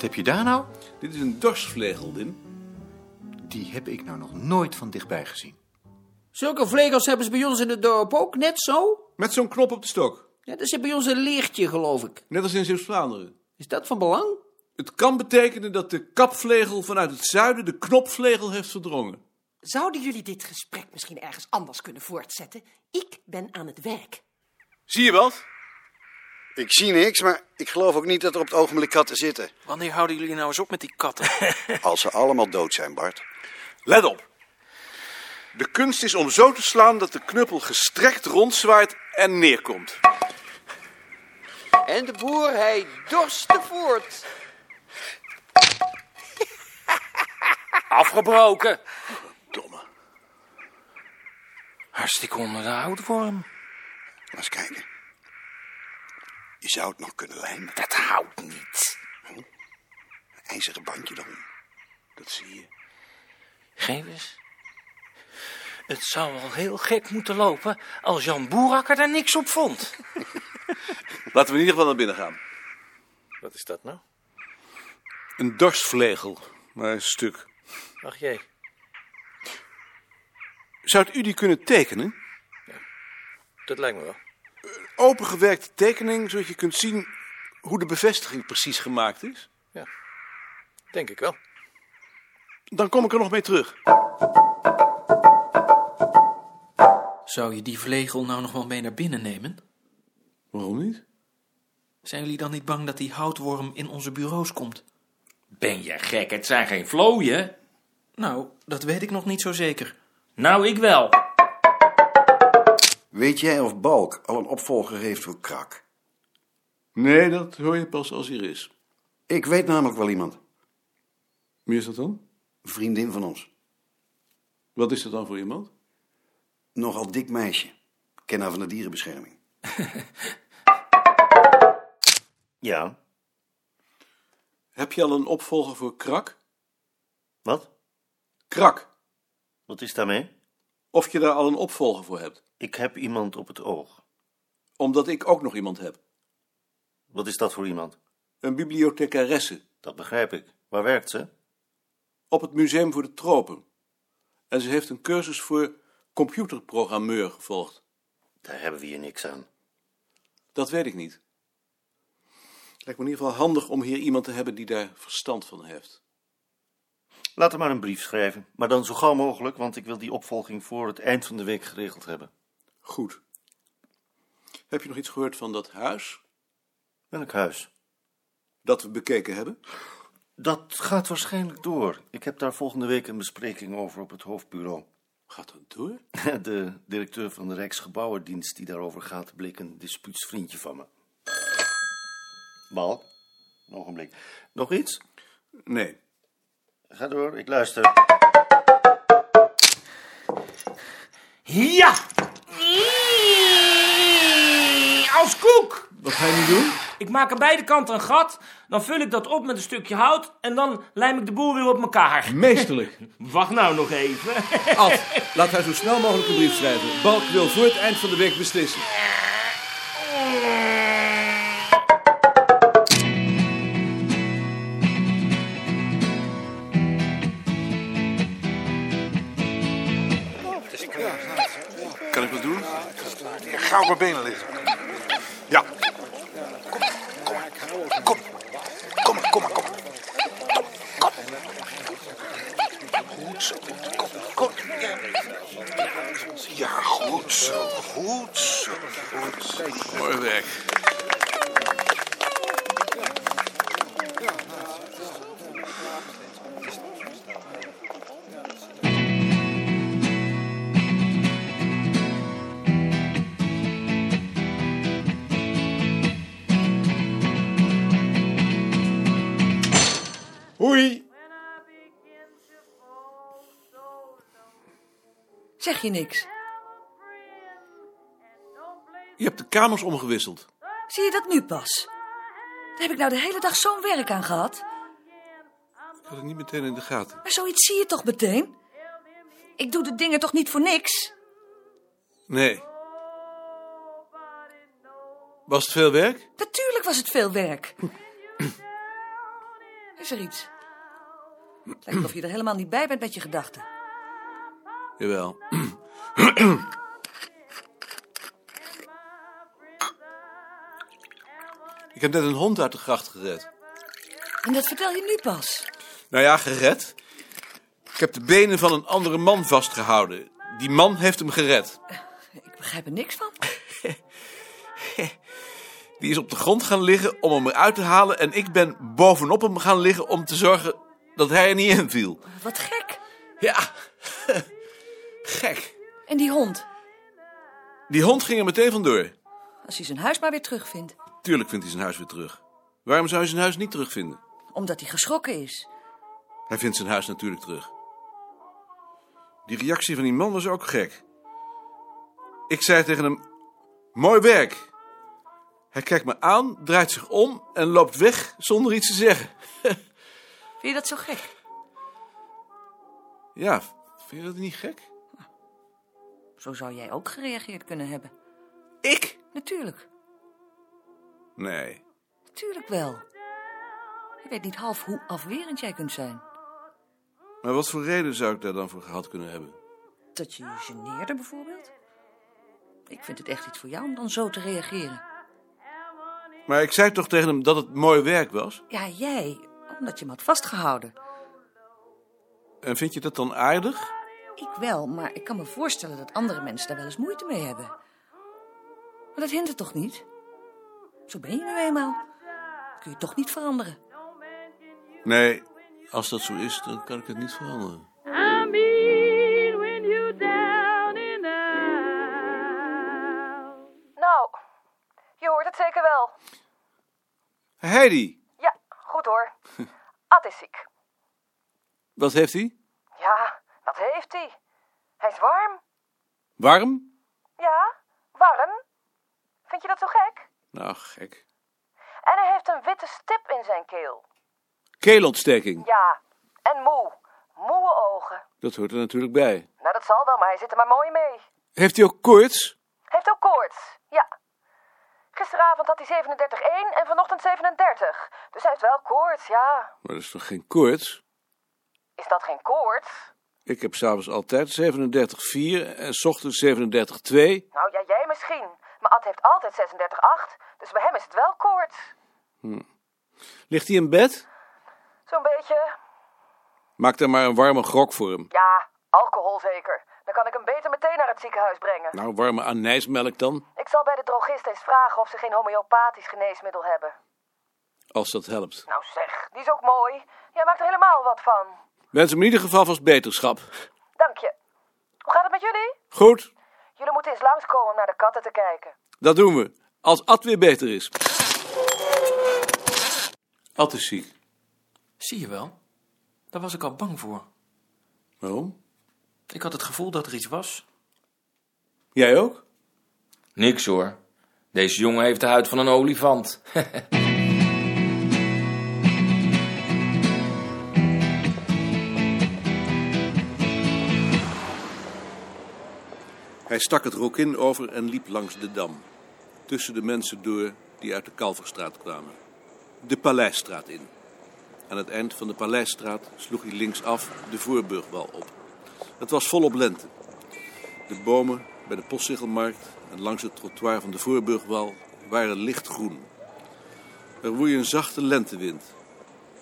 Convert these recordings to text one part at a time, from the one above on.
heb je daar nou? Dit is een dorsvlegel, Wim. Die heb ik nou nog nooit van dichtbij gezien. Zulke vlegels hebben ze bij ons in het dorp ook, net zo. Met zo'n knop op de stok. Ja, dat zit bij ons een leertje, geloof ik. Net als in Zeeuws-Vlaanderen. Is dat van belang? Het kan betekenen dat de kapvlegel vanuit het zuiden de knopvlegel heeft verdrongen. Zouden jullie dit gesprek misschien ergens anders kunnen voortzetten? Ik ben aan het werk. Zie je wat? Ik zie niks, maar ik geloof ook niet dat er op het ogenblik katten zitten. Wanneer houden jullie nou eens op met die katten? Als ze allemaal dood zijn, Bart. Let op. De kunst is om zo te slaan dat de knuppel gestrekt rondzwaait en neerkomt. En de boer, hij dorste voort. Afgebroken. Domme. Hartstikke onder de houtworm. Laat eens kijken. Je zou het nog kunnen lijmen. Dat houdt niet. Een ijzeren bandje erom. Dat zie je. Geef eens. Het zou wel heel gek moeten lopen als Jan Boerakker daar niks op vond. Laten we in ieder geval naar binnen gaan. Wat is dat nou? Een dorsvlegel, maar een stuk. Ach jee. Zou u die kunnen tekenen? Dat lijkt me wel. Opengewerkte tekening, zodat je kunt zien hoe de bevestiging precies gemaakt is. Denk ik wel. Dan kom ik er nog mee terug. Zou je die vlegel nou nog wel mee naar binnen nemen? Waarom niet? Zijn jullie dan niet bang dat die houtworm in onze bureaus komt? Ben je gek? Het zijn geen vlooien. Nou, dat weet ik nog niet zo zeker. Nou, ik wel. Weet jij of Balk al een opvolger heeft voor Krak? Nee, dat hoor je pas als hij er is. Ik weet namelijk wel iemand. Wie is dat dan? Een vriendin van ons. Wat is dat dan voor iemand? Nogal dik meisje. Ken haar van de dierenbescherming. Ja. Heb je al een opvolger voor Krak? Wat? Krak, Wat is daarmee? of je daar al een opvolger voor hebt. Ik heb iemand op het oog. Omdat ik ook nog iemand heb. Wat is dat voor iemand? Een bibliothecaresse. Dat begrijp ik. Waar werkt ze? Op het Museum voor de Tropen. En ze heeft een cursus voor computerprogrammeur gevolgd. Daar hebben we hier niks aan. Dat weet ik niet. Lijkt me in ieder geval handig om hier iemand te hebben die daar verstand van heeft. Laat haar maar een brief schrijven. Maar dan zo gauw mogelijk, want ik wil die opvolging voor het eind van de week geregeld hebben. Goed. Heb je nog iets gehoord van dat huis Welk huis? dat we bekeken hebben? Dat gaat waarschijnlijk door. Ik heb daar volgende week een bespreking over op het hoofdbureau. Gaat dat door? De directeur van de Rijksgebouwendienst die daarover gaat, bleek een dispuutsvriendje van me. Balk, nog een blik. Nog iets? Nee. Ga door, ik luister. Ja! Als koek! Wat ga je nu doen? Ik maak aan beide kanten een gat, dan vul ik dat op met een stukje hout en dan lijm ik de boel weer op elkaar. Meesterlijk. Wacht nou nog even. Ad, laat haar zo snel mogelijk een brief schrijven. Balk wil voor het eind van de week beslissen. Kan ik wat doen? Ga op mijn benen liggen. Ja. Kom, kom, maar, kom, maar, kom, maar, kom, maar, kom, kom. Goed zo, kom, kom. Ja. Ja, goed zo, goed zo, goed zo. Mooi werk. Hoi. Zeg je niks? Je hebt de kamers omgewisseld. Zie je dat nu pas? Daar heb ik nou de hele dag zo'n werk aan gehad. Ik had het niet meteen in de gaten. Maar zoiets zie je toch meteen? Ik doe de dingen toch niet voor niks? Nee. Was het veel werk? Natuurlijk was het veel werk. is er iets. Het lijkt of je er helemaal niet bij bent met je gedachten. Jawel. Ik heb net een hond uit de gracht gered. En dat vertel je nu pas. Nou ja, gered. Ik heb de benen van een andere man vastgehouden. Die man heeft hem gered. Ik begrijp er niks van. Die is op de grond gaan liggen om hem eruit te halen. En ik ben bovenop hem gaan liggen om te zorgen dat hij er niet in viel. Wat gek. Ja, gek. En die hond, Die hond ging er meteen vandoor. als hij zijn huis maar weer terugvindt. Tuurlijk vindt hij zijn huis weer terug. Waarom zou hij zijn huis niet terugvinden? Omdat hij geschrokken is. Hij vindt zijn huis natuurlijk terug. Die reactie van die man was ook gek. Ik zei tegen hem: Mooi werk. Hij kijkt me aan, draait zich om en loopt weg zonder iets te zeggen. Vind je dat zo gek? Ja, vind je dat niet gek? Zo zou jij ook gereageerd kunnen hebben. Ik? Natuurlijk. Nee. Natuurlijk wel. Je weet niet half hoe afwerend jij kunt zijn. Maar wat voor reden zou ik daar dan voor gehad kunnen hebben? Dat je je geneerde bijvoorbeeld. Ik vind het echt iets voor jou om dan zo te reageren. Maar ik zei toch tegen hem dat het mooi werk was? Ja, jij, omdat je hem had vastgehouden. En vind je dat dan aardig? Ik wel, maar ik kan me voorstellen dat andere mensen daar wel eens moeite mee hebben. Maar dat hindert toch niet? Zo ben je nu eenmaal. Dat kun je toch niet veranderen. Nee. Als dat zo is, dan kan ik het niet veranderen. I mean when you down in out. Nou, je hoort het zeker wel. Heidi, Ja, goed hoor. Ad is ziek. wat heeft hij? Ja, wat heeft hij? Hij is warm. Warm? Ja, warm. Vind je dat zo gek? Nou, gek. En hij heeft een witte stip in zijn keel. Keelontsteking. Ja, en moe. Moe ogen. Dat hoort er natuurlijk bij. Nou, dat zal wel, maar hij zit er maar mooi mee. Heeft hij ook koorts? Heeft ook koorts, ja. Gisteravond had hij 37,1 en vanochtend 37. Dus hij heeft wel koorts, ja. Maar dat is toch geen koorts? Is dat geen koorts? Ik heb s'avonds altijd 37,4 en s ochtends 37,2. Nou ja, jij misschien. Maar Ad heeft altijd 36,8. Dus bij hem is het wel koorts. Hm. Ligt hij in bed? Zo'n beetje. Maak daar maar een warme grok voor hem. Ja, alcohol zeker. Dan kan ik hem beter meteen naar het ziekenhuis brengen. Nou, warme anijsmelk dan, Ik zal bij de drogist eens vragen of ze geen homeopathisch geneesmiddel hebben. als dat helpt. Nou zeg, die is ook mooi. Jij maakt er helemaal wat van. Wens hem in ieder geval vast beterschap. Dank je. Hoe gaat het met jullie? Goed, Jullie moeten eens langskomen om naar de katten te kijken. dat doen we. Als Ad weer beter is. Ad is ziek. Zie je wel? Daar was ik al bang voor. Waarom? Ik had het gevoel dat er iets was. Jij ook? Niks hoor. Deze jongen heeft de huid van een olifant. Hij stak het rokin over en liep langs de dam. Tussen de mensen door die uit de Kalverstraat kwamen. De Paleisstraat in. Aan het eind van de Paleisstraat sloeg hij linksaf de Voorburgwal op. Het was volop lente. De bomen bij de postzeggelmarkt en langs het trottoir van de Voorburgwal waren lichtgroen. Er woei een zachte lentewind.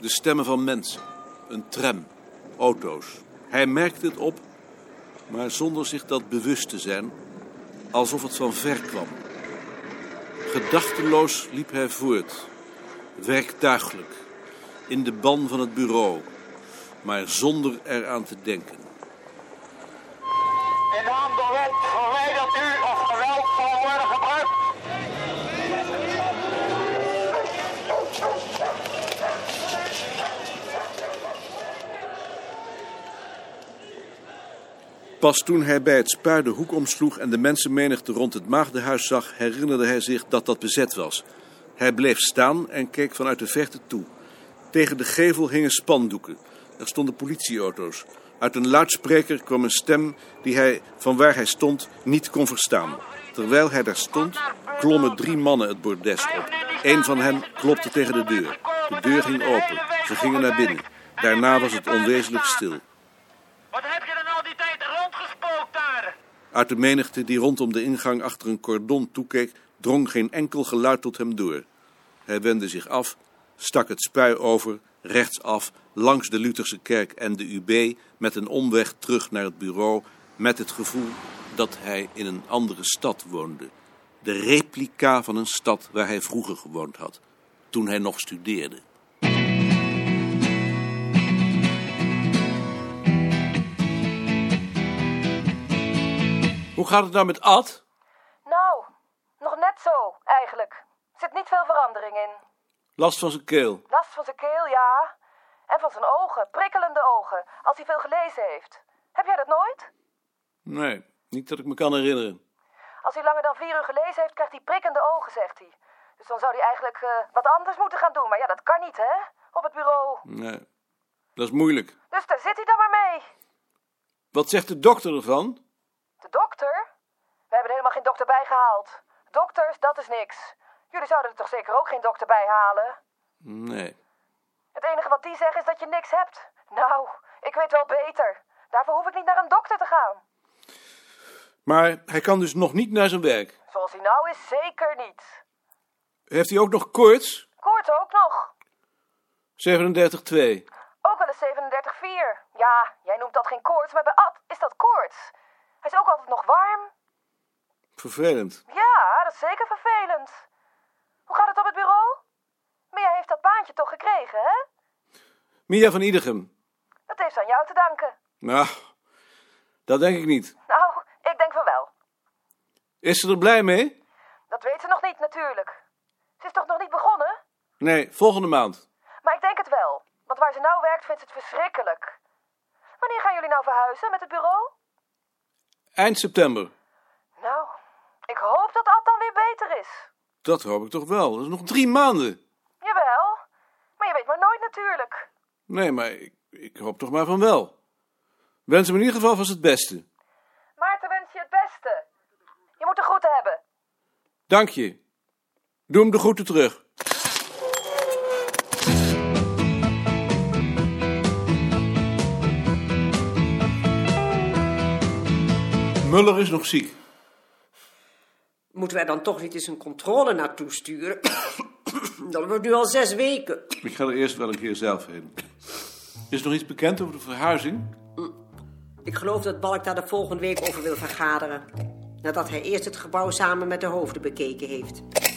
De stemmen van mensen, een tram, auto's. Hij merkte het op maar zonder zich dat bewust te zijn, alsof het van ver kwam. Gedachteloos liep hij voort, werktuigelijk, in de ban van het bureau, maar zonder eraan te denken. In naam der wet verwijdert u of geweld zal worden gebruikt. Pas toen hij bij het spui de hoek omsloeg en de mensenmenigte rond het maagdenhuis zag, herinnerde hij zich dat dat bezet was. Hij bleef staan en keek vanuit de verte toe. Tegen de gevel hingen spandoeken. Er stonden politieauto's. Uit een luidspreker kwam een stem die hij, van waar hij stond, niet kon verstaan. Terwijl hij daar stond, klommen drie mannen het bordes op. Eén van hen klopte tegen de deur. De deur ging open. Ze gingen naar binnen. Daarna was het onwezenlijk stil. Uit de menigte die rondom de ingang achter een cordon toekeek, drong geen enkel geluid tot hem door. Hij wendde zich af, stak het spui over, rechtsaf, langs de Lutherse kerk en de UB, met een omweg terug naar het bureau, met het gevoel dat hij in een andere stad woonde. De replica van een stad waar hij vroeger gewoond had, toen hij nog studeerde. Hoe gaat het nou met Ad? Nou, nog net zo, eigenlijk. Er zit niet veel verandering in. Last van zijn keel. Last van zijn keel, ja. En van zijn ogen, prikkelende ogen, als hij veel gelezen heeft. Heb jij dat nooit? Nee, niet dat ik me kan herinneren. Als hij langer dan vier uur gelezen heeft, krijgt hij prikkende ogen, zegt hij. Dus dan zou hij eigenlijk eh, wat anders moeten gaan doen. Maar ja, dat kan niet, hè? Op het bureau. Nee, dat is moeilijk. Dus daar zit hij dan maar mee. Wat zegt de dokter ervan? De dokter? We hebben er helemaal geen dokter bij gehaald. Dokters, dat is niks. Jullie zouden er toch zeker ook geen dokter bij halen? Nee. Het enige wat die zeggen is dat je niks hebt. Nou, ik weet wel beter. Daarvoor hoef ik niet naar een dokter te gaan. Maar hij kan dus nog niet naar zijn werk. Zoals hij nou is, zeker niet. Heeft hij ook nog koorts? Koort ook nog. 37,2. Ook wel eens 37,4. Ja, jij noemt dat geen koorts, maar bij Ad is dat koorts. Hij is ook altijd nog warm. Vervelend. Ja, dat is zeker vervelend. Hoe gaat het op het bureau? Mia heeft dat baantje toch gekregen, hè? Mia van Iedergem. Dat heeft ze aan jou te danken. Nou, dat denk ik niet. Nou, ik denk van wel. Is ze er blij mee? Dat weet ze nog niet, natuurlijk. Ze is toch nog niet begonnen? Nee, volgende maand. Maar ik denk het wel. Want waar ze nou werkt, vindt ze het verschrikkelijk. Wanneer gaan jullie nou verhuizen met het bureau? Eind september. Nou, ik hoop dat Ad dan weer beter is. Dat hoop ik toch wel. Dat is nog drie maanden. Jawel. Maar je weet maar nooit natuurlijk. Nee, maar ik, ik hoop toch maar van wel. Wens hem in ieder geval vast het beste. Maarten wens je het beste. Je moet de groeten hebben. Dank je. Doe hem de groeten terug. Muller is nog ziek. Moeten wij dan toch niet eens een controle naartoe sturen? dat wordt nu al zes weken. Ik ga er eerst wel een keer zelf heen. Is er nog iets bekend over de verhuizing? Ik geloof dat Balk daar de volgende week over wil vergaderen. Nadat hij eerst het gebouw samen met de hoofden bekeken heeft.